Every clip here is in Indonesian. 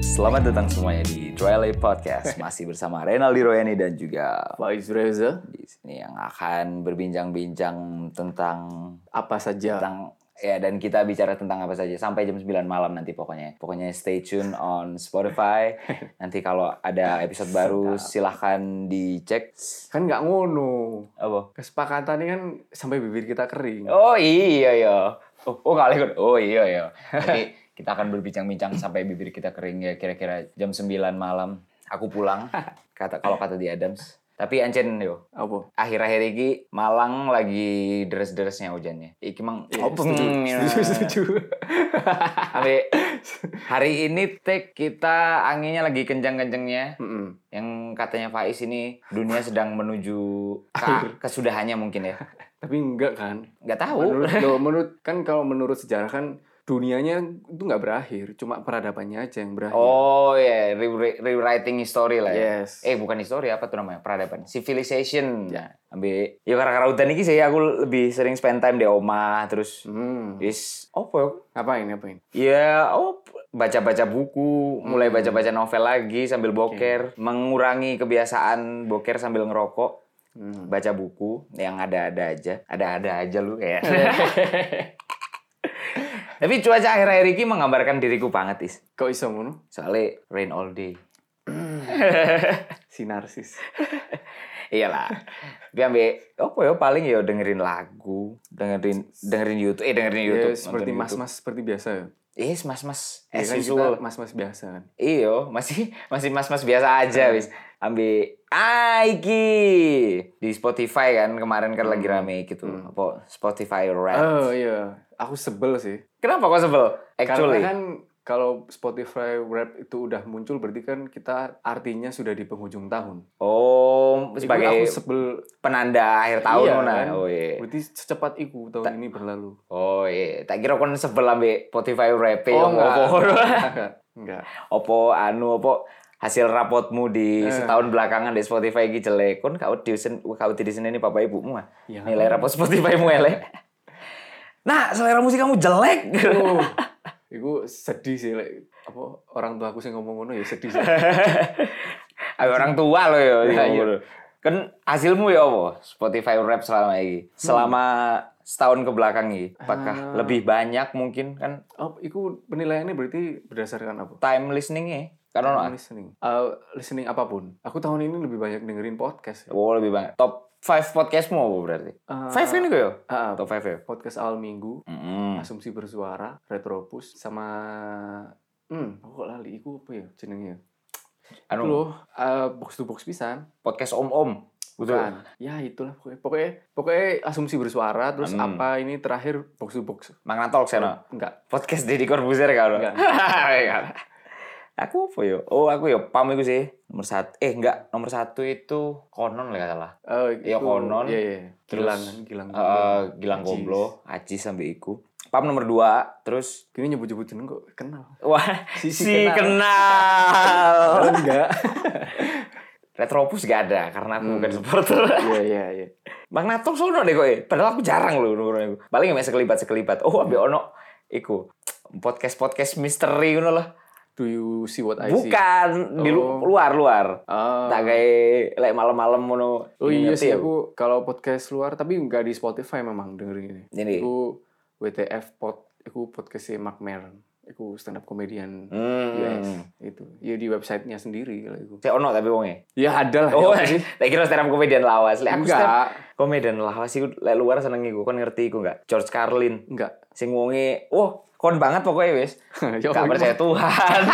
Selamat datang semuanya di Twilight Podcast. Masih bersama Renaldi Royani dan juga Faiz Reza, di sini yang akan berbincang-bincang tentang apa saja tentang ya dan kita bicara tentang apa saja sampai jam 9 malam nanti pokoknya. Pokoknya stay tune on Spotify. Nanti kalau ada episode baru silahkan dicek. kan nggak ngono Apa? kesepakatan ini kan sampai bibir kita kering Oh iya iya. Oh, oh nggak lewat. Oh iya iya. Nanti kita akan berbincang-bincang sampai bibir kita kering ya kira-kira jam 9 malam. Aku pulang. Kata kalau kata di Adams. Tapi ancen yo, apa akhir-akhir ini Malang lagi deres-deresnya hujannya. Iki mang Iya, Openg, setuju, ya. setuju, setuju. Ambe, hari ini tek kita anginnya lagi kencang-kencangnya. Mm-mm. Yang katanya Faiz ini dunia sedang menuju ke- kesudahannya mungkin ya. tapi enggak kan Nggak tahu. menurut loh, menurut kan kalau menurut sejarah kan dunianya itu nggak berakhir cuma peradabannya aja yang berakhir Oh ya, re- rewriting history lah ya. yes Eh bukan history apa tuh namanya? Peradaban, civilization. Ya. Ambe, yo karena udan iki sih aku lebih sering spend time di omah terus Hmm. is opo ya? ngapain ngapain Ya, oh baca-baca buku, Hmm. mulai baca-baca novel lagi sambil boker, mengurangi kebiasaan boker sambil ngerokok, Hmm. baca buku yang ada-ada aja, ada-ada aja lu kayak. Tapi cuaca akhir-akhir ini menggambarkan diriku banget, Is. kok iso ngono Soalnya rain all day. si narsis Iyalah. Tapi ambil, apa ya paling ya dengerin lagu, dengerin dengerin YouTube, eh dengerin YouTube. ya seperti nonton YouTube. mas-mas seperti biasa ya Iya, mas-mas. Ya as kan usual. kita mas-mas biasa kan Iyo, masih masih mas-mas biasa Iya. aja wis. Ambil ah iki di Spotify kan kemarin kan lagi Hmm. rame gitu. Apa Spotify Rap. oh iya aku sebel sih Kenapa kok sebel? Actually. Karena kan kalau Spotify Wrap itu udah muncul berarti kan kita artinya sudah di penghujung tahun. oh, Itu aku sebagai sebel penanda akhir tahun Iya, nah. kan? Oh iya. berarti secepat iku tahun ini berlalu. Oh iya, tak kira kon sebel ambek Spotify Rap e, opo- opo Oh, enggak. enggak. opo anu opo hasil rapotmu di Eh. setahun belakangan di Spotify iki jelek. Kon kau di kau di sini ini papa ibumu ah. Ya. Nilai rapot Spotify mu elek. Nah, selera musik kamu jelek. Oh, iku sedih sih like, apa orang tua aku sih ngomong ngono ya sedih sih. Ayo orang tua lo yo. Ya, iya. Kan hasilmu ya apa? Spotify rap selama Hmm. ini. Selama setahun ke belakang ini, Ah. apakah lebih banyak mungkin kan Oh, iku penilaiannya berarti berdasarkan apa? time kan listening-nya? Karena listening. Eh, listening apapun. Aku tahun ini lebih banyak dengerin podcast. Ya. oh, lebih banyak. Top 5 podcastmu apa berarti? Eh, 5 ini gue yo. ah, Top 5 ya. podcast awal minggu, Mm-mm. asumsi bersuara retropus sama hmm aku kok lali iku apa ya jenengnya Anu itu loh eh, box to box pisan podcast om-om. Betul. Bukan. ya itulah pokoknya pokoknya, pokoknya asumsi bersuara terus Hmm. apa ini terakhir box to box Magna Talk sana. enggak Podcast Deddy Corbuzier kan? Enggak. aku apa yo? Oh aku yo pam itu sih nomor satu. Eh enggak nomor satu itu konon lah nggak salah. Eh, Iya, itu- konon. iya iya Terus, gilang gilang Eh, Gilang Acis. Gomblo, Aci sampai Iku. Pam nomor dua, terus gini nyebut nyebut jeneng kok kenal wah si, Si- si kenal. kenal. Oh, kenal. enggak Retropus gak ada karena aku bukan supporter. iya iya iya Bang Nato sono deh kowe. Padahal aku jarang loh nurun aku. Paling mek sekelibat-sekelibat. Oh, ambil ono iku podcast-podcast misteri ngono lah. do you see what I see Bukan di lu- Oh. luar-luar. Ah. tak kayak like malam-malam ngono. Oh iya Ngerti sih ya? aku kalau podcast luar tapi nggak di Spotify memang dengerin ini. Jadi? Aku WTF pod, aku podcast Mark Maron. Aku stand up comedian Hmm. US itu. Ya di websitenya sendiri kalau aku. Saya ono tapi wonge. Ya ada lah. Oh, ya apa sih? tak kira stand up komedian lawas. Lek aku stand up Enggak, komedian lawas iku lek luar seneng iku kon ngerti iku enggak? George Carlin enggak. sing wonge, "Wah, kon banget pokoknya wis." Gak Ya Allah, percaya Tuhan.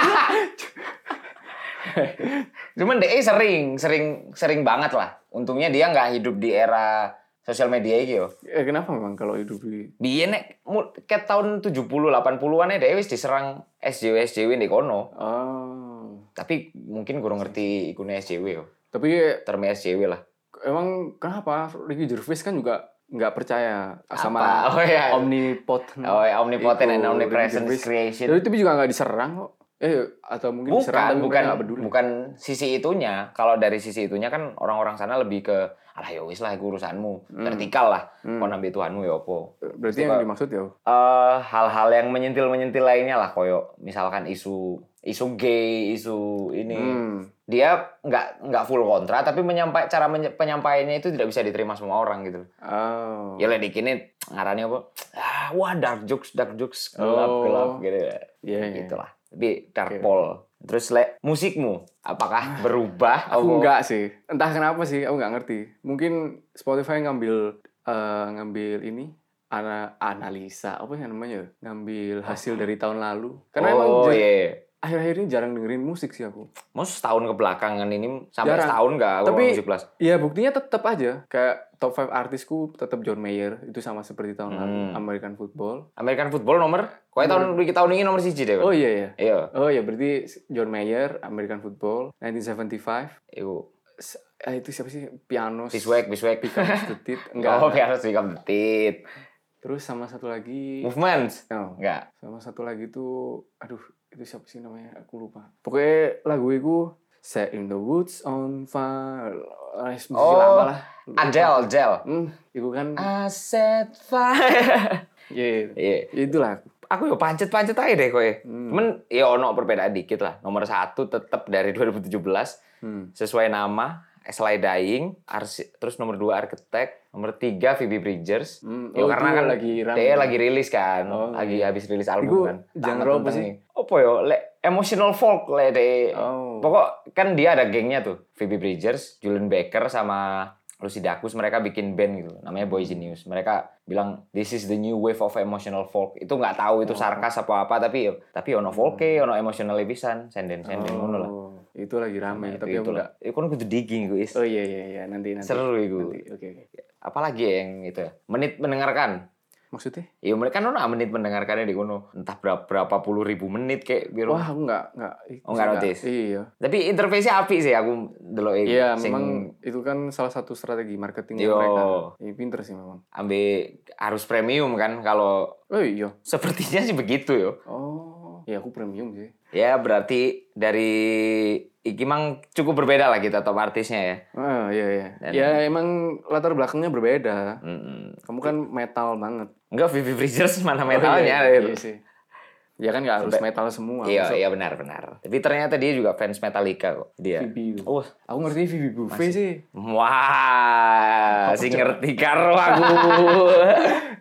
Cuman DE sering, sering, sering banget lah. Untungnya dia nggak hidup di era sosial media iki yo. Eh, kenapa memang kalau hidup di Biyen nek mu- ke tahun 70 80-an ya DE wis diserang SJW SJW di kono. Oh. Tapi mungkin kurang ngerti ikune SJW yo. Tapi Termi SJW lah. emang kenapa Ricky Gervais kan juga nggak percaya Apa? sama Oh iya. omnipotent. Oh, iya. ya, omnipotent Itu and Ricky omnipresent Gervais. creation. Tapi tapi juga nggak diserang kok. Eh atau mungkin Bukan, diserang tapi bukan, mereka nggak peduli. bukan sisi itunya. Kalau dari sisi itunya kan orang-orang sana lebih ke alah ya wis lah iku urusanmu, Hmm. vertikal lah. Kon ambil Tuhanmu ya opo. Itu Berarti yang kok- dimaksud ya? Eh, hal-hal yang menyentil-menyentil lainnya lah koyo misalkan isu isu gay, isu ini. Hmm. Dia nggak nggak full kontra, tapi menyampai cara menye- penyampaiannya itu tidak bisa diterima semua orang gitu. Oh. Ya ledekinnya ngarani apa? Ah, wah dark jokes, dark jokes, gelap, Oh. gelap gitu. Iya, iya. Gitulah. Tapi dark Oke. Ah, pole. Terus le, musikmu apakah berubah? Aku apa? enggak sih. Entah kenapa sih, aku enggak ngerti. Mungkin Spotify ngambil eh, ngambil ini ana- analisa apa ya namanya? Ngambil hasil dari tahun lalu. Karena emang oh, jar- iya. iya. akhir-akhir ini jarang dengerin musik sih aku. Mau setahun ke belakangan ini sampai Jarang. setahun nggak aku Tapi- nonton musik plus. Ya buktinya tetap aja kayak top 5 artisku tetap John Mayer itu sama seperti tahun lalu Hmm. American Football. American football nomor Kau tahun tahun ini nomor siji deh. kan? Oh iya ya. Iya. Oh iya berarti John Mayer American Football 1975. Iku S- eh, itu siapa sih? Pianos. biswek biswek. Becomes the Tit. Enggak. Enggak. Oh, biasa sih kamu tit. Terus sama satu lagi Movement. No. Enggak. Sama satu lagi tuh aduh itu siapa sih namanya? Aku lupa. Pokoknya lagu itu Set in the Woods on Fire. Eh, musisi Oh, lama lah. Adele, Adele. Hmm, itu kan I set fire. iya. Iya. Itulah. Aku yo pancet-pancet aja deh kowe. Hmm. Cuman ya ono perbedaan dikit lah. Nomor satu tetap dari 2017 Hmm. sesuai nama Sly Dying, Ars- terus nomor dua Architect, nomor tiga Phoebe Bridgers. Hmm, Ya oh, karena itu kan lagi rame. dia lagi rilis kan, Oh, lagi iya. habis rilis album Iku kan. genre Tamat apa sih? tentang- Apa yo? Le, emotional folk le de. Oh. Pokok kan dia ada gengnya tuh, Phoebe Bridgers, Julian Baker sama Lucy Dacus mereka bikin band gitu, namanya Boys Genius. Mereka bilang this is the new wave of emotional folk. Itu nggak tahu Oh. itu sarkas apa apa tapi yo- tapi ono folke, ono emotional pisan, senden senden ngono lah. Hmm. Nah, Oh, itu lagi rame, tapi itu aku lah. enggak. Iku kan kudu digging iku is. Oh iya iya iya, nanti nanti. Seru iku. Nanti, Oke oke. Apalagi ya yang itu ya. Menit mendengarkan. Maksudnya? Iya mereka kan ono menit mendengarkannya di kono entah berapa, berapa puluh ribu menit kayak biru. Wah, aku enggak enggak. Oh, enggak notice? Iya. Tapi interface-nya api sih aku delok iku. Iya, Sing memang itu kan salah satu strategi marketing Yo. mereka. Iya, pinter sih memang. ambil arus premium kan kalau Oh iya. sepertinya sih begitu yo. Oh, ya aku premium sih. Ya berarti dari iki mang cukup berbeda lah kita top artisnya ya. Ah, iya iya. Dan- ya emang latar belakangnya berbeda. Mm-mm. Kamu kan metal banget. Enggak Vivi Freezers mana Oh, metalnya. iya, Iya, iya, sih. Ya kan nggak harus metal semua. iya, Masuk benar benar. Tapi ternyata dia juga fans Metallica kok dia. VB itu. Oh, Aku ngerti VB Buffet sih. wah, sing ngerti karo aku.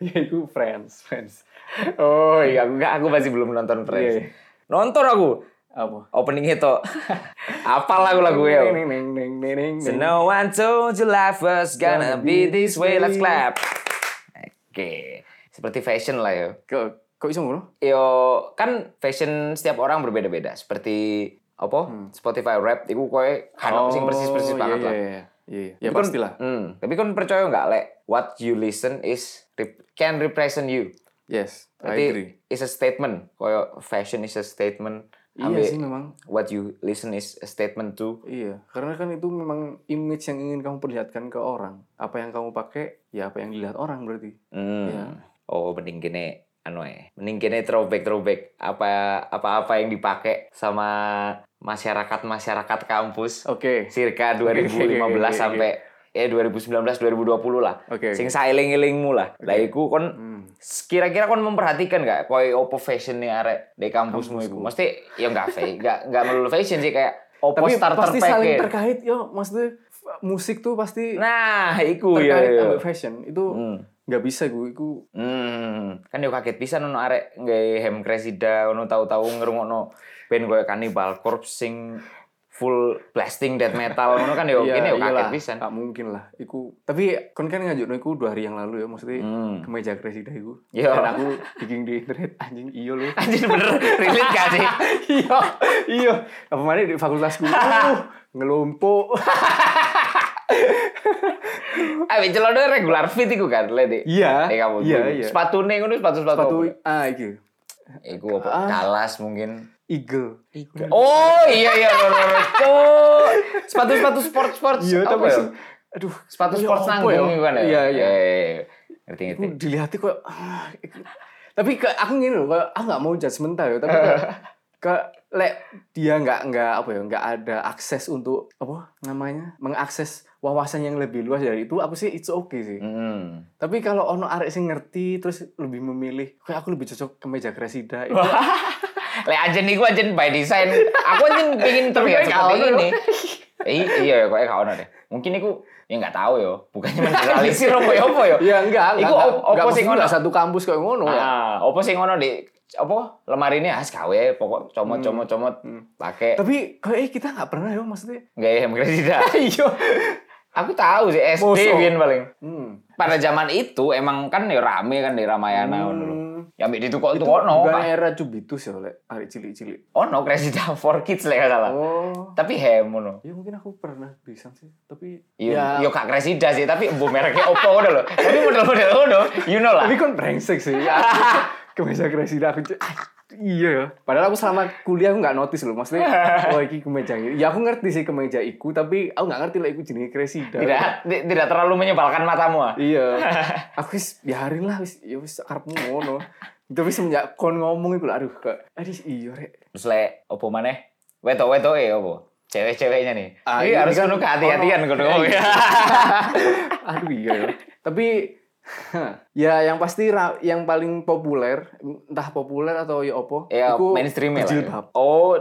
ya itu friends, friends. Oh iya, aku enggak, aku masih belum nonton Friends. Iya, iya. Nonton aku Apa? opening itu. Apal lagu lagu ya. Neng neng neng neng neng. So no one told you life was gonna be this way. Let's clap. Oke, seperti fashion lah ya. Kok kok bisa ngono? Yo kan fashion setiap orang berbeda-beda. Seperti apa? Spotify rap itu kowe hanok sing persis-persis banget iya, lah. Iya, iya, iya. Ya Tapi kon- pastilah. Hmm, tapi kan percaya nggak, Lek? What you listen is rep- can represent you. Yes, I agree. Berarti is a statement. Koyo fashion is a statement. Iya Ambil- sih memang. what you listen is a statement to. Iya, karena kan itu memang image yang ingin kamu perlihatkan ke orang. Apa yang kamu pakai, ya apa yang dilihat orang berarti. Hmm. Iya. Oh, mending gini anu eh. Mending gini throwback throwback apa apa-apa yang dipakai sama masyarakat-masyrakat kampus Oke. circa 2015 oke, oke, oke. sampai eh 2019 2020 lah. Oke, oke. Sing saeling-elingmu lah. Lah iku kon Hmm. kira-kira kon memperhatikan gak koyo opo fashionnya arek di kampusmu iku? Mesti ya enggak fe, enggak enggak melulu fashion sih kayak opo Tapi starter pasti pack. saling ya. terkait, yo. Maksudnya f- musik tuh pasti Nah, iku ya. terkait ya. sama fashion. Itu Hmm. nggak bisa gue, itu Hmm, kan yo kaget pisan ono arek nggae hem kresida ono tahu-tahu ngrungokno band koyo Cannibal Corpse sing full blasting death metal ngono kan Iya, yo kene yo kaget pisan. Gak ya, mungkin lah. Iku tapi kon kan ngajukno iku dua hari yang lalu ya maksudnya Hmm. kemeja kresida iku. Iya. Dan aku digging di internet anjing iyo lu. Anjir bener relate gak sih? iya, iya. Apa mana di fakultasku uh, ngelumpuk. Ah, celana regular fit iku kan, le Dik. Iya, Eh kamu. iya, dulu. iya. Sepatune ngono sepatu-sepatu. Sepatu Sepatu ah iki. iku apa? Dalas mungkin. Eagle. Oh, iya iya bener bener. Cuk. Sepatu-sepatu sport-sport. Iya, apa tapi ya? sih aduh, sepatu iya, sport apa nanggung ya? iku kan ya. Iya, iya. Ngerti ngerti. Aku dilihat kok ah, iki. tapi ke, aku gini loh, kayak, aku nggak mau judgement ya, tapi kayak, kayak, lek dia nggak nggak apa ya, nggak ada akses untuk apa namanya, mengakses wawasan yang lebih luas dari itu, aku sih it's okay sih. Hmm. Tapi kalau ono arek sing ngerti terus lebih memilih, kayak aku lebih cocok kemeja kresida itu. Le ajen nih gue ajen by design. Aku ajen pingin terlihat Tapi kayak seperti kaono. ini. Eh, iya ya, kayaknya kaono deh. Mungkin aku ya nggak tahu yo. Bukannya menjelaskan apa ya apa yo. Iya enggak, enggak. Iku enggak, op- enggak opo sing maksudnya ngono? enggak satu kampus kayak ngono ya. Ah, apa sih ngono di apa lemari ini khas kawe pokok comot comot comot Hmm. pakai Tapi kayaknya kita enggak pernah ya maksudnya. gaya yang tidak. Iya. Aku tahu sih SD Mosok. Win, paling. Hmm. Pada zaman itu emang kan ya rame kan di Ramayana ngono lho. Hmm. Ya ambil itu kok itu ono. Bukan era cubitus ya oleh hari cilik-cilik. Ono Crazy Town for Kids lah nggak salah. Oh. Tapi hem ngono. Ya mungkin aku pernah bisa sih, tapi ya, Iya, yo kak Kresida sih, tapi bu mereknya Oppo udah loh. Tapi model-model udah, you know lah. Tapi kan brengsek sih. Ya, aku kemeja Gresida aku cu- Ah, Iya ya. Padahal aku selama kuliah aku nggak notice loh. Maksudnya, oh iki kemeja ini. Ya aku ngerti sih kemeja iku, tapi aku nggak ngerti lah iku jenis Gresida. Tidak, ti- tidak terlalu menyebalkan matamu. ah. Iya. Aku wis biarin lah wis ya wis karepmu ngono. Tapi semenjak kon ngomong iku lho, aduh kok aduh iya rek. Terus le Oppo mana? Weto weto eh Oppo. Cewek-ceweknya nih. Ah, Ini iya, harus kan. penuh kehati-hatian Ono. kudu ngomong. Iya. aduh iya ya. Tapi ya yang pasti ra- yang paling populer entah populer atau ya opo Ya, iku mainstream lah. ya. berjilbab. Oh,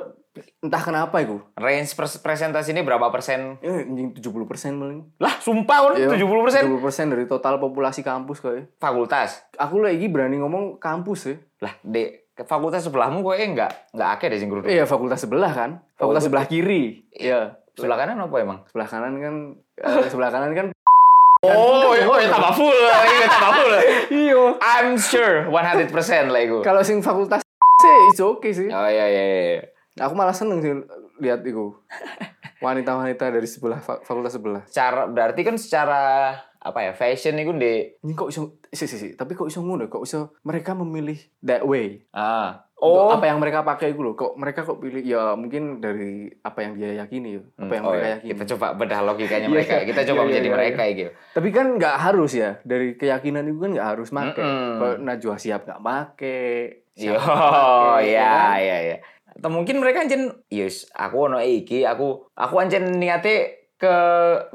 entah kenapa iku range pers- presentasi ini berapa persen? Ya, anjing 70 persen paling. Lah, sumpah Iya, on 70 persen 70 dari total populasi kampus kayak. fakultas. Aku lagi berani ngomong kampus ya. Lah, di ke fakultas sebelahmu kok enggak enggak akeh deh sing grup. Iya fakultas sebelah kan. Fakultas sebelah kiri. Iya. Sebelah kanan apa emang? Sebelah kanan kan. eh, sebelah kanan kan. Oh, iya, iya, tambah full, iya, tambah full. Iya. I'm sure 100% lah itu. Kalau sing fakultas sih itu oke sih. Oh iya iya. iya. Nah, Aku malah seneng sih lihat itu. Wanita-wanita dari sebelah fa- fakultas sebelah. Cara berarti kan secara apa ya fashion itu di Ini kok iso si, si, si. tapi kok iso ngono, kok iso mereka memilih that way. ah oh Untuk apa yang mereka pakai itu loh. Kok mereka kok pilih ya mungkin dari apa yang dia yakini, ya. apa yang Oh, mereka iya. yakini. kita coba bedah logikanya Iya, mereka. iya. Kita coba Iya, iya, menjadi iya, mereka ya gitu. Tapi kan nggak harus ya dari keyakinan itu kan nggak harus make. Mm-mm. Iya. Kalau Najwa siap nggak make. Hmm, Yo, Siap nggak make, iya kan? iya iya. Atau mungkin mereka anjen, yes, aku ono iki, aku aku anjen niate ke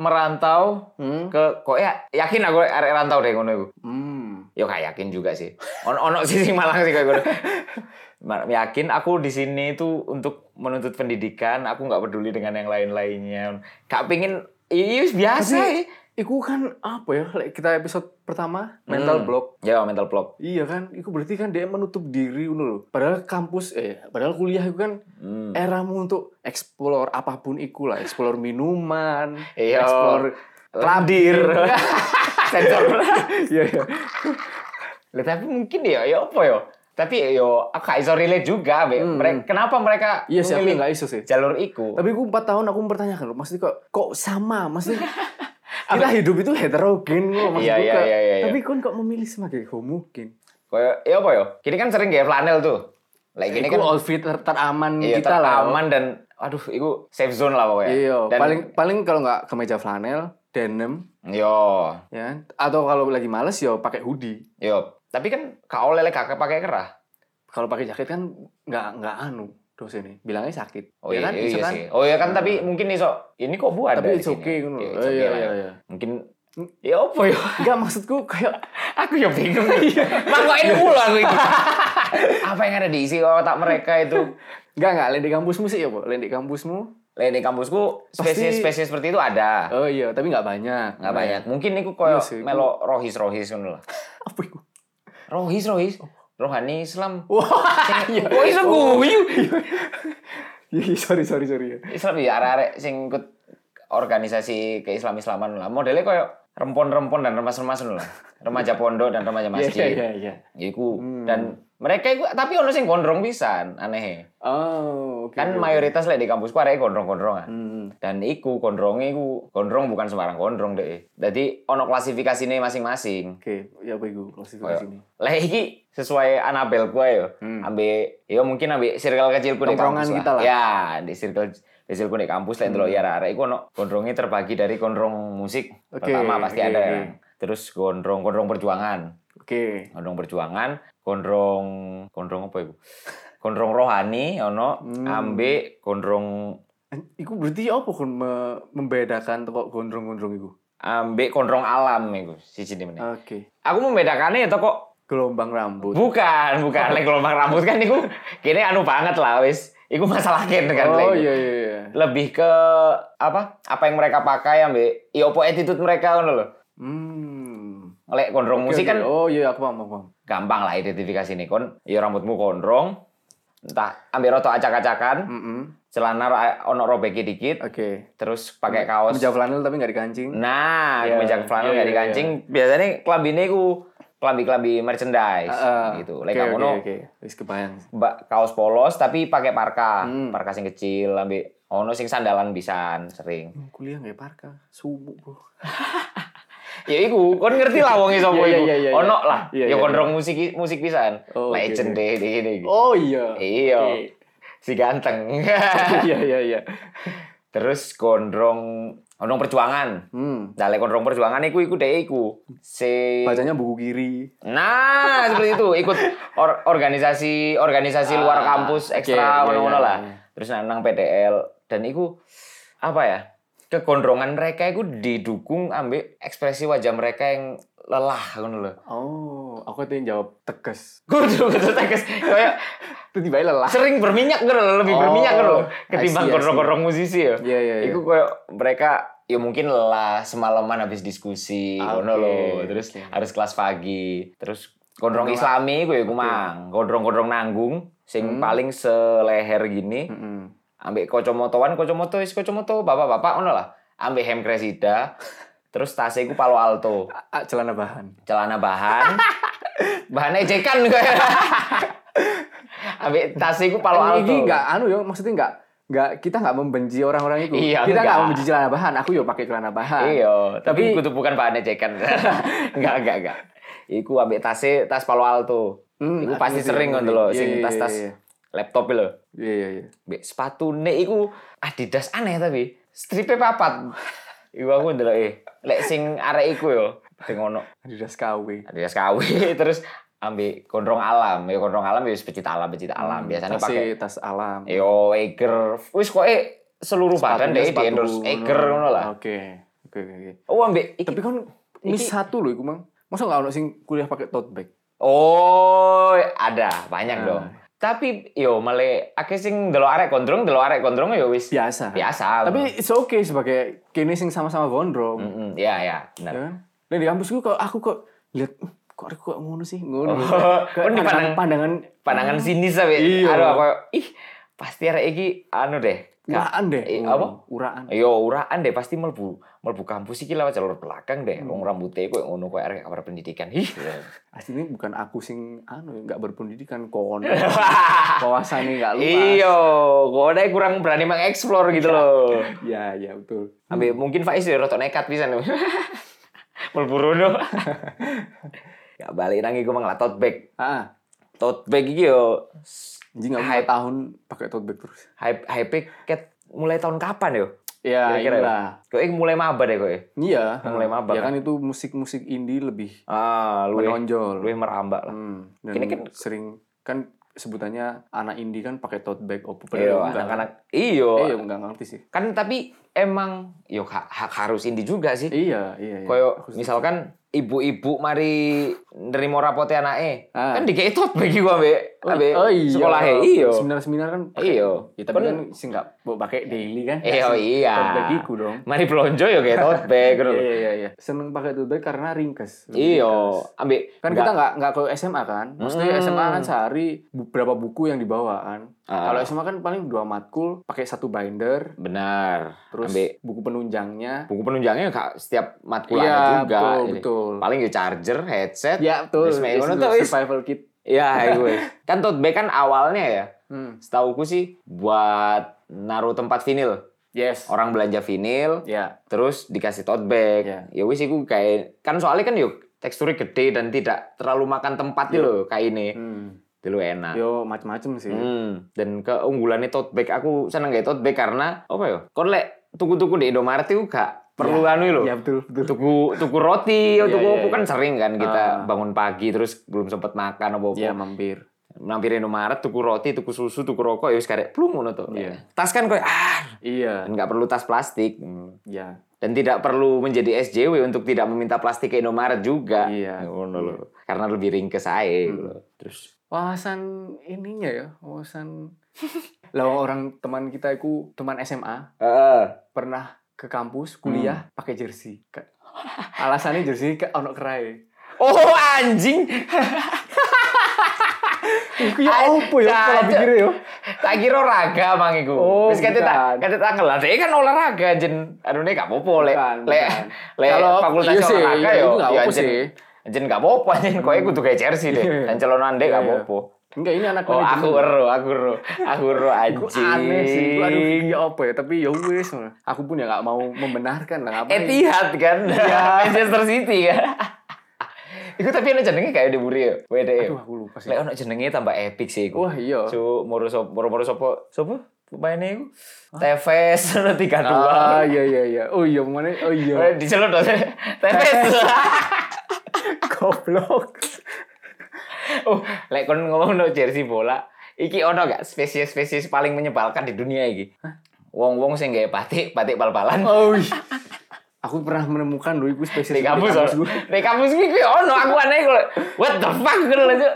merantau Hmm. ke kok ya yakin aku arek rantau deh ngono iku. Hmm. Yo kayak yakin juga sih. Ono ono sih sing malang sih kayak gitu. Mar- Yakin aku di sini itu untuk menuntut pendidikan, aku nggak peduli dengan yang lain-lainnya. Kak pingin iya biasa Tapi- ya. Iku kan apa ya? like Kita episode pertama mental Hmm. block. Ya mental block. Iya kan? Iku berarti kan dia menutup diri ngono loh. Padahal kampus eh padahal kuliah itu kan Hmm. eramu untuk explore apapun iku lah, explore minuman, Iya. explore Ladir. Sensor. Iya iya. Lah, tapi mungkin ya ya apa ya? Tapi yo aku gak iso relate juga Be. Hmm. Mereka, kenapa mereka Iya sih aku memilih nggak iso sih. jalur iku? Tapi aku 4 tahun aku mempertanyakan loh, maksudnya kok kok sama? Maksudnya kita hidup itu heterogen loh maksud Iya, gue iya, kayak, iya, iya, iya. Tapi kon kok memilih sebagai homogen? Kayak ya apa ya? Kini kan sering gaya flanel tuh. Lah Ini gini kan kan outfit ter- teraman iya, kita lah. aman dan aduh iku safe zone lah pokoknya. Iya, Dan- paling paling kalau nggak kemeja flanel, denim, yo ya. Atau kalau lagi males ya pakai hoodie. Yo, tapi kan kau lele kakak pakai kerah. Kalau pakai jaket kan nggak nggak anu dosen ini bilangnya sakit. Oh iya, kan? iya, Bisa kan? sih. Oh iya kan, Hmm. tapi mungkin iso ini kok buat Tapi it's okay kan. Iya, Iya, it's okay iya, lah, iya, yo. iya. Mungkin ya apa ya? Enggak maksudku kayak Iya. aku ya bingung. Mangkokin mulu aku ini. Iya. apa yang ada diisi otak mereka itu? enggak enggak lain di kampusmu sih ya, Bu. Lain di kampusmu. Lain di kampusku spesies-spesies seperti itu ada. Oh iya, tapi enggak banyak. Ah. Nggak Nah, banyak. Mungkin iku koyo Iya sih, iku. melo rohis-rohis ngono lah. Apa itu? Rohis, rohis. Oh. Rohani Islam. Wah, iya. Kok iso Oh, guyu? Iya, iya, sorry, sorry, sorry. Islam ya arek-arek sing ikut organisasi keislaman-islaman lah. Modelnya koyo rempon-rempon dan remas-remas ngono lah. Remaja pondok dan remaja Iya, iya, masjid. iya, iya. Iku Hmm. dan mereka iku tapi ono sing gondrong pisan, aneh. Oh, oke. Kan oke, oke. mayoritas lek di kampusku arek gondrong-gondrongan. Hmm. Dan iku gondrongnya iku gondrong bukan sembarang gondrong deh. Jadi ono klasifikasinya masing-masing. Oke, ya apa itu Kayak, klasifikasi ini? Lah iki sesuai Anabel gua yo. Hmm. Ambe yo mungkin ambe circle kecilku di Tongkrongan kampus kita lah. Hmm. Ya, di circle di circle di kampus lah delok ya arek iku ono gondrongnya terbagi dari gondrong musik. Oke, Pertama pasti oke, ada. oke. Terus gondrong-gondrong perjuangan, Oke. gondrong perjuangan, gondrong gondrong apa iku? Gondrong rohani ono Hmm. ambe gondrong An- Iku berarti apa kon me- membedakan kok gondrong-gondrong itu? ambek kontrong alam iku siji meneh. Oke. Aku membedakannya ya toko gelombang rambut. Oh. Bukan, bukan. Lek gelombang rambut kan iku kini anu banget lah wis. Iku masalah kin kan Oh lek. iya iya iya. Lebih ke apa? Apa yang mereka pakai ambe ya opo attitude mereka ngono lho. Hmm. Lek gondrong musik Oke, kan oke. Oh iya aku paham aku paham. gampang lah identifikasi nih kon. Ya rambutmu gondrong. Entah ambil roto acak-acakan, Mm-mm. celana ra- ono robeki dikit, Oke. terus pakai kaos. Kemeja flanel tapi nggak dikancing. Nah, Iya. kemeja flanel Iya, nggak iya, dikancing. Biasanya klambine ku klambi-klambi merchandise Heeh. gitu. Lek Ah, Oke, kamu oke, oke. Wis kebayang. ba- kaos polos tapi pakai parka, Hmm. parka sing kecil, ambek ono sing sandalan pisan sering. Hmm, Kuliah nggak parka, subuh bro. Ya iku, kon ngerti lah wong sapa Iya, iya, iku. iya, iya. Ono lah, Iya, ya iya. kondrong musik musik pisan. Oh, oke, Legend deh di ini. Oh iya. Iya. Oke. Si ganteng. Iya iya iya. Terus kondrong kondrong perjuangan. Hmm. Nah, lek kondrong perjuangan iku iku deh iku. Si Bacanya buku kiri. Nah, seperti itu. Ikut or- organisasi organisasi luar Ah, kampus oke, ekstra iya, ngono-ngono iya, lah. iya. Terus nang PDL dan itu apa ya? Kegondrongan mereka itu didukung ambek ekspresi wajah mereka yang lelah ngono lho. Oh, aku tuh yang jawab tegas. Kudu kudu tegas. Kayak Tiba-tiba lelah. sering berminyak ngono lho, lebih Oh, berminyak ngono lho, I ketimbang see, I see. gondrong-gondrong musisi ya. Iya iya iya. Iku kayak mereka ya mungkin lelah semalaman habis diskusi Ah, ngono oke, lho. Terus oke. harus kelas pagi. Terus gondrong Gondrong- islami gue iku mang, gondrong-gondrong nanggung sing Hmm. paling seleher gini Mm-mm. ambek kocomotoan kocomoto is kocomoto bapak-bapak ngono lah. Ambek hem kresida. Terus tasnya iku Palo Alto, Ah, celana bahan. celana bahan. bahannya ejekan gue. ambek tasnya iku Palo Ini Alto. nggak anu ya, maksudnya nggak nggak kita nggak membenci orang-orang itu. Iya, kita nggak. nggak membenci celana bahan. Aku yo pakai celana bahan. Iya, tapi, Tapi- kudu bukan bahan ejekan. enggak, enggak, enggak. Iku ambek tasnya tas Palo Alto. Hmm, iku aku pasti ngerti, sering aku ngono ngerti. lho, Iya, sing iya, tas-tas iya, iya. laptop e lho. Iya iya iya. Mbek sepatune iku Adidas aneh tapi stripe papat. Iku aku ndelok eh lek sing arek iku yo sing ono Adidas KW. Adidas KW terus ambek gondrong alam. Ya gondrong alam ya wis pecinta alam, pecinta alam. Biasanya Tasnya pakai Hmm, tas e. alam. yo Eiger. Wis kok eh seluruh badan Sepatunya deh di sepatu endorse Eiger ngono lah. Oke. Oke oke oke. Oh ambek iki Tapi kan miss satu loh iku, Mang. Masa nggak ono sing kuliah pakai tote bag? Oh, ada banyak Nah. dong. Tapi yo male akeh sing delok arek gondrong, delok arek gondrong yo wis Biasa. biasa. Ya. Tapi it's okay sebagai kini sing sama-sama gondrong. Mm-mm, ya ya, benar. Ya kan? Nah, di kampus gue kok aku kok lihat "Hmm, kok aku kok ngono sih ngono. Oh, Kayak kan dipandang- pandangan pandangan Pandangan sinis tapi Iya. aduh aku ih pasti arek iki anu deh. Kak, uraan deh. Eh, Oh, apa? Uraan. Yo uraan deh pasti melbu melbu kampus iki lewat jalur belakang Hmm. deh. Wong rambutnya koyo ngono koyo arek kabar pendidikan. Ih. Iya. Aslinya bukan aku sing anu nggak berpendidikan kono. Kawasannya nggak luas. Iyo, Iya, kok kurang berani mengeksplor gitu loh. Iya, iya betul. Ambil mungkin Faiz ya rotok nekat bisa nih. Melburono. ya balik nang iku mang lah tote bag. Ah, Tote bag iki yo s- jadi nggak mau Hype. tahun pakai tote bag terus. hype hype ket mulai tahun kapan yo? Ya, Kira-kira ya? inilah. Kok iki mulai maba deh kok. ya? Iya. Mulai mabak. Ya kan itu musik-musik indie lebih Ah, lu menonjol. lu merambak lah. Hmm, dan Ini kan- sering kan sebutannya anak indie kan pakai tote bag Iyo, opo padahal Iya, enggak. anak-anak. Eh, Iyo. ya enggak ngerti sih. Kan tapi emang yo ha- ha- harus indie juga sih. Iya, iya, iya. Koyo Aku setuju. misalkan ibu-ibu mari nerimo rapote anake. Ah. Kan dikei tote bag iku ambek Oh, ambek oh iya. sekolahe. Iyo. Seminar-seminar kan pakai. Iya. Ya, tapi Kan- kan sih enggak mau pakai daily kan. Iya, Nggak sih. iya. Tote bag iku dong. Mari blonjo ya kayak tote bag gitu Iya, loh. iya, iya. Seneng pakai tote bag karena ringkes. Lebih Iya, ringkes. ambek Kan kita nggak nggak ke SMA kan. Maksudnya Hmm. SMA kan sehari bu- berapa buku yang dibawa kan. Ah. Kalau SMA kan paling dua matkul, pakai satu binder, benar. terus Ambek buku penunjangnya. buku penunjangnya nggak setiap matkul Iya, ada juga. betul, Jadi, betul. Paling ya charger, headset. Ya, betul. Terus main Itu ngono tuh, wis. survival kit. Iya, gue. Kan tote bag kan awalnya ya, Hmm. setauku sih buat naruh tempat vinil. Yes. Orang belanja vinil, Ya. terus dikasih tote bag. Iya. Ya wis iku kayak kan soalnya kan yuk teksturnya gede dan tidak terlalu makan tempat Iya. gitu loh kayak ini. Hmm. Dulu enak. Yo macam-macam sih. Nah. Hmm, dan keunggulannya tote bag aku seneng gak tote bag karena apa ya? Kon lek tuku-tuku di Indomaret itu gak perlu anu lho. Ya betul, betul. Tuku tuku roti, Iya, tuku iya, opo iya. kan sering kan kita Ah. bangun pagi terus belum sempet makan apa-apa. Ya mampir. Nampir Indomaret tuku roti, tuku susu, tuku rokok ya wis karek plung ngono to. Iya. Tas kan koyo ah, Iya. nggak perlu tas plastik. Hmm. Ya. Dan Dan tidak perlu menjadi SJW untuk tidak meminta plastik ke Indomaret juga. Iya. Ya, Hmm. Ngono lho. Karena lebih ringkes aja. lho. Terus Wawasan ininya ya, wawasan. lah orang teman kita itu teman SMA Heeh. pernah ke kampus kuliah pakai jersey. Ke- Alasannya jersey ke ono kerai. Oh anjing. Iku ya opo ya Kacau. kalau pikirnya ya. Tak kira raga mang iku. Oh, Wis kate tak bukan. kate tak ngelah. Dek kan olahraga jen anune gak apa-apa lek Bukan, lek bukan. lek Kalau- fakultas iya sih, olahraga iya, yo. itu gak yo apa-apa anjen- sih. Anjen gak apa-apa anjen koe kudu kayak jersey deh. Iya, iya. Dan celonan dek gak Iya, iya. apa-apa. Enggak ini anak Oh aku manajemen. ero, aku ero, aku ero Iku anjing. aneh sih. Iku aduh ya apa ya, tapi ya wis. Aku pun ya gak mau membenarkan lah apa. Etihad kan, Iya. Manchester City kan. Iku tapi ana jenenge kayak di Buri yo. ya? Wede yo. Aduh aku lupa sih. Lek ono jenenge tambah epic sih iku. Wah iya. Cuk, moro sop, moro moro sopo, sopo pemainnya itu? Tevez, ada tiga dua. Ah iya iya iya. Oh iya mana? Oh iya. Dicelup dong, Tevez. Goblok. Oh, lek kon ngomong no jersey bola, iki ono gak spesies-spesies paling menyebalkan di dunia iki? Wong-wong sing gawe patik, patik pal-palan. Oh iya. Aku pernah menemukan dulu iku Di spesies kampus, gue. di kampus iki ono aku aneh kok. What the fuck gitu loh, Cuk.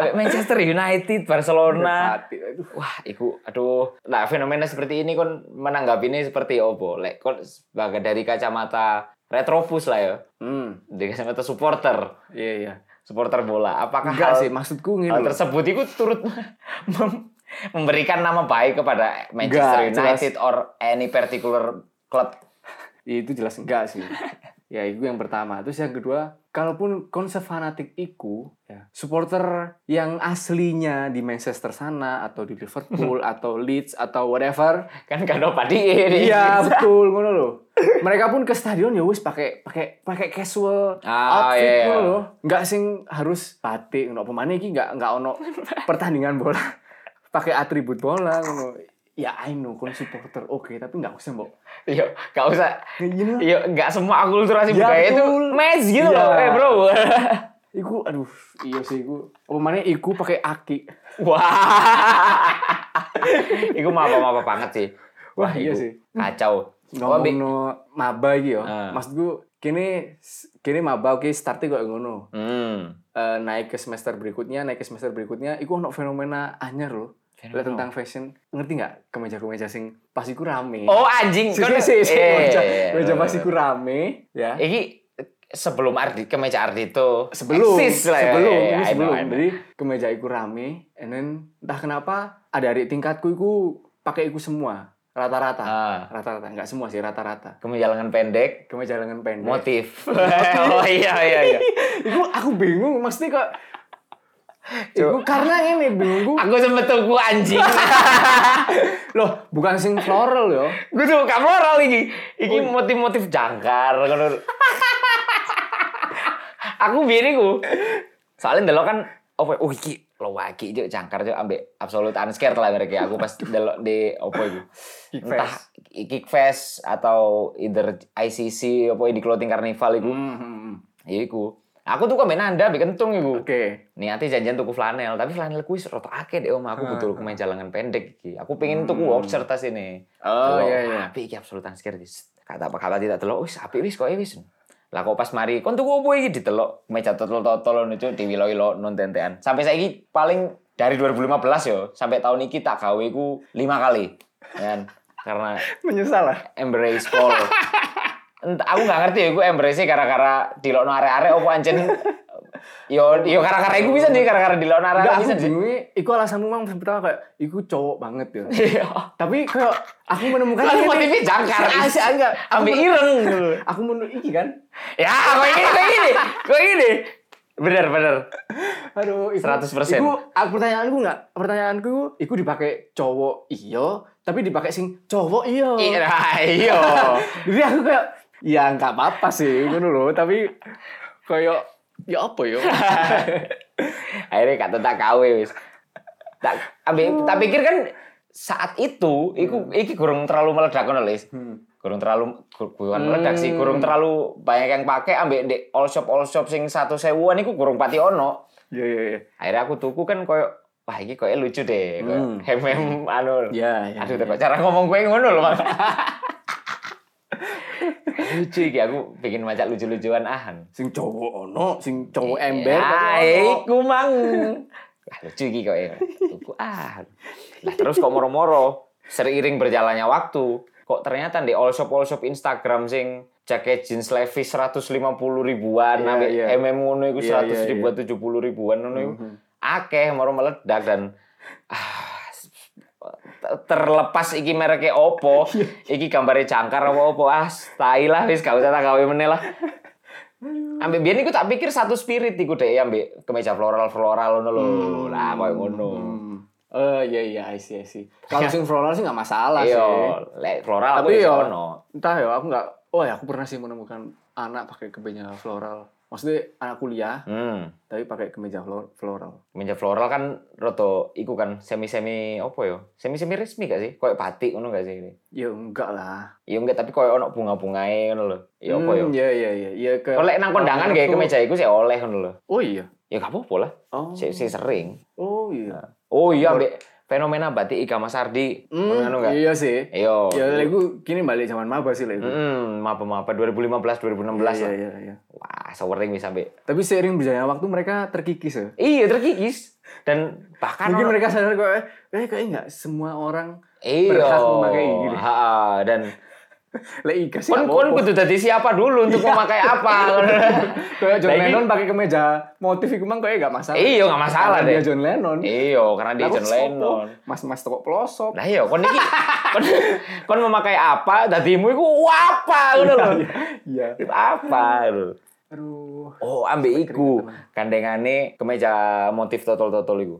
Ambek Manchester United, Barcelona, Mati, aduh. Wah, iku aduh. Nah, fenomena seperti ini kon menanggapinya seperti opo? Lek kon sebagai dari kacamata retrobus lah ya, Hmm. dari kacamata supporter, Iya iya. supporter bola. Apakah Enggak Oh, hal, sih maksudku hal ngene. loh. tersebut itu turut mem- memberikan nama baik kepada Manchester Enggak, United or any particular club? Ya, itu jelas enggak sih. ya itu yang pertama. Terus yang kedua, kalaupun konsep fanatik iku, ya, supporter yang aslinya di Manchester sana atau di Liverpool atau Leeds atau whatever, Kan gak ada padi ini. iya betul ngono loh. Mereka pun ke stadion ya wis pakai pakai pakai casual Ah, iya, outfit iya. ngono loh. Enggak sing harus batik ngono pemain iki enggak enggak ono pertandingan bola. pakai atribut bola ngono. Ya I know kon supporter oke tapi enggak usah mbok. Iya, gak usah. Ngene lah. Iya, gak semua akulturasi Ya, budaya itu betul. match gitu Iya. loh, eh bro. Iku aduh, iya sih iku. Apa maneh iku pakai aki. Wah. Iku mapa-mapa banget sih. Wah, iya sih. Kacau. Wah, Bi. Ngomongno maba iki ya. Ah. Maksudku kene kene maba oke startnya koyo ngono. Hmm. Eh, naik ke semester berikutnya, naik ke semester berikutnya iku ono fenomena anyar loh. Fenomena Lah tentang fashion, ngerti nggak kemeja-kemeja sing pas iku rame. Oh anjing. sih Kon- sih sih. Eh, Kemeja, iya, iya, kemeja iya. pas iku rame, ya. Iki sebelum Ardi kemeja Ardi itu sebelum eksis lah ya. sebelum Iya, iya, I ini know, sebelum I know. jadi kemeja iku rame and then entah kenapa ada adik tingkatku iku pakai iku semua rata-rata Ah, rata-rata nggak semua sih rata-rata kemeja lengan pendek, kemeja lengan pendek motif. oh iya iya iya. Iku aku bingung mesti kok Cuk. Iku karena ini bingung Aku sempet tuku anjing. loh bukan sing floral yo Gue tuh gak moral iki. Iki motif-motif jangkar ngono. Aku biyen iku. Soalnya delok kan opo oh iki lowaki iki jangkar yo ambek absolut unscared lah mereka. Aku pas delok di opo iku. Kick Fest. Entah kick fest atau either ICC opo di clothing carnival iku. Ya iku. Aku tuh komen anda ambek kentung iku. oke Niatnya janjian tuku flanel, tapi flanel kuis roto akeh deh om. Aku Ah. butuh kemeja lengan pendek iki. Aku pengen tuku voucher tas ini. Hmm. Oh, iya, iya. Tapi iki absolut angskir guys. Kata apa kata tidak telok, wis api wis kok wis. Lah kok pas mari kon tuku opo iki ditelok meja totol-totol nucu diwilo-wilo non tentean. Sampai saiki paling dari 2015 yo sampai tahun iki tak gawe ku 5 kali. Kan karena menyesal lah embrace Paul. Entah, aku nggak ngerti ya, gue embrace gara-gara dilokno arek-arek opo anjen. Yo yo gara-gara iku bisa nih, gara-gara dilokno arek-arek Enggak, aku bisa nih. bingungnya, iku alasanmu mang pertama kayak, iku cowok banget ya. Iya. Tapi kayak, aku menemukan Lalu ini- motifnya jangkar. Asik, enggak. Aku Ambil menemukan- ireng. aku menu iki kan Ya, kok ini, kok ini, kok ini. Bener, bener. aduh iku, 100%. iku aku- pertanyaanku nggak pertanyaanku iku, iku dipakai cowok iya tapi dipakai sing cowok iya Iya, iya. jadi aku kayak ya nggak apa-apa sih ngono loh tapi kayak ya apa ya Akhirnya kata tak kawe wis. Tak ambil, tak pikir kan saat itu, iku iki kurang terlalu meledak ngono lho, Is. Hmm. kurang terlalu kur- kurang meledak sih kurang terlalu banyak yang pakai ambek di all shop all shop sing satu sewuan iku kurang pati ono ya ya ya akhirnya aku tuku kan koyo wah iki koyo lucu deh koyo Hmm. hem hem anu ya ya aduh terus cara ngomong gue ngono loh Mas. lucu iki aku pengen maca lucu-lucuan ahan. sing cowok ono sing cowok ember Ah, Ah, tapi ono. iku mang. Wah, lucu iki kok ya. Tuku ah. ahan. Lah terus kok moro-moro seiring berjalannya waktu, kok ternyata di all shop all shop Instagram sing jaket jeans Levi's 150 ribuan, Iya, yeah, iya. MM ngono iku Iya, 100 iya, iya. ribuan, 70 ribuan ngono iku. Mhm. akeh moro meledak dan ah, ter- terlepas iki mereknya opo Iya. iki gambarnya cangkar apa opo ah tai lah wis gak usah tak gawe meneh lah ambek biyen iku tak pikir satu spirit iku deh ambek kemeja floral floral ngono lho lah koyo ngono Hmm. Eh iya iya I see I see. Kalau sing floral sih nggak masalah iya sih. lek floral Tapi ya, aku yo. yo ono Entah ya aku nggak. Oh ya aku pernah sih menemukan anak pakai kemeja floral. Maksudnya anak kuliah hmm tapi pakai kemeja flor- floral. kemeja floral kan roto iku kan semi-semi opo yo semi-semi resmi gak sih koyo batik ngono gak sih Ya enggak lah. Iya enggak tapi koyo ono bunga-bungae ngono lho ya opo yo Hmm, Iya iya iya. Ya, ke. Kalau nang kondangan kayak kemeja iku sih oleh ngono lho. Oh iya. Ya gak apa-apa lah, Oh. sih sih sering. Oh iya. Oh iya ambek fenomena batik Ika Mas Ardi. Hmm, Ngono enggak? iya sih. Ayo. Ya lek aku gini balik zaman maba sih lek. aku. Oh, Hmm, mapa-mapa 2015 2016 Iya, lah. Iya iya iya. Wah, sewering wis sampe. Tapi seiring berjalannya waktu mereka terkikis ya. Iya, terkikis dan bahkan Mungkin orang- mereka sadar kok eh, eh kayaknya nggak semua orang iya. berhak memakai ini. Heeh, dan lek Ika iya sih. kon nggak kon apa-apa. kudu dadi siapa dulu Iya. untuk memakai apa. Kayak John Lah, ini- Lennon pakai kemeja motif itu emang kayak gak ya masalah. Iya, nggak masalah Karena deh. Dia John Lennon. Iya, karena dia Lah, John kok sopo? Lennon. Mas-mas toko pelosok. Nah iya, kon iki kon, kon memakai apa? Dadimu iku apa ngono lho. Iya, Iya. Apa lho. Aduh. Oh, ambek iku. Kandengane kemeja motif totol-totol iku.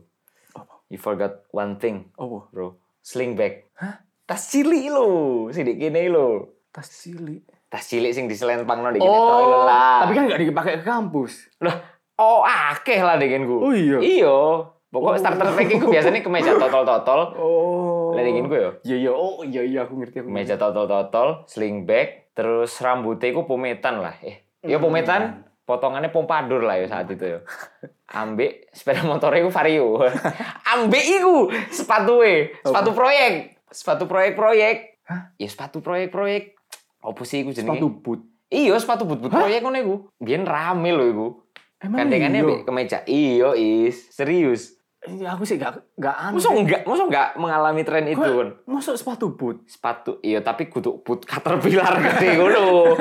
Apa? You forgot one thing, Oh, bro. Sling bag. Hah? Tas cilik lho, sidik kene lho. tas cilik. Tas cilik sing diselempangno dik kene tok lho Oh, lah. tapi kan gak dipakai ke kampus. Loh, oh akeh lah dekenku. Oh, iya? Iya. Pokok starter pack iku biasanya kemeja totol-totol. Oh. Lah dekenku ya. Iya iya, oh iya iya aku ngerti aku. Meja totol-totol, sling bag, terus rambutnya iku pometan lah. Eh, ya Hmm. pometan, potongannya pompadur lah ya saat itu ya. Ambek sepeda motornya iku vario. Ambek iku sepatuwe, sepatu proyek. Sepatu proyek-proyek. Hah? Ya sepatu proyek-proyek. Apa sih iku jenenge? sepatu boot. Iya, sepatu but-but proyek ngono iku. Biyen rame lho iku. Emang Gandengannya iya? ambek kemeja. Iya, is. Serius. Iya, aku sih gak gak aneh. Masa enggak, masa enggak mengalami tren itu, Kok- Kon? Masuk sepatu boot. sepatu iya tapi kudu boot caterpillar gede ngono.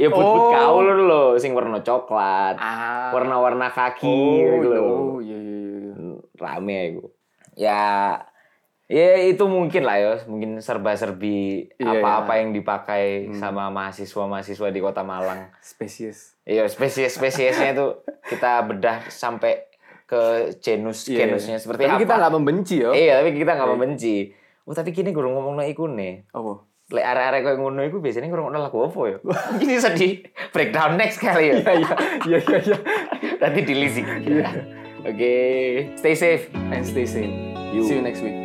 Ya boot boot Oh. kaul lho sing warna coklat, Ah. warna-warna kaki Oh, gitu iya, lho. oh, iya iya iya. iya. Rame iku. Ya ya itu mungkin lah ya, mungkin serba-serbi Iya, Hmm. apa-apa yang dipakai sama mahasiswa-mahasiswa di Kota Malang. Spesies. Iya, spesies-spesiesnya itu kita bedah sampai ke genus Iya, iya. genusnya seperti Tapi apa. kita gak membenci ya. Iya, tapi kita nggak membenci. Oh, tapi kini gue ngomong iku nih. Apa? lek arek-arek koyo ngono iku biasanya ngrungokno lagu apa ya? Mungkin bisa di breakdown next kali ya. Iya iya iya iya. Nanti di list. Oke, stay safe. And stay safe. You. See you next week.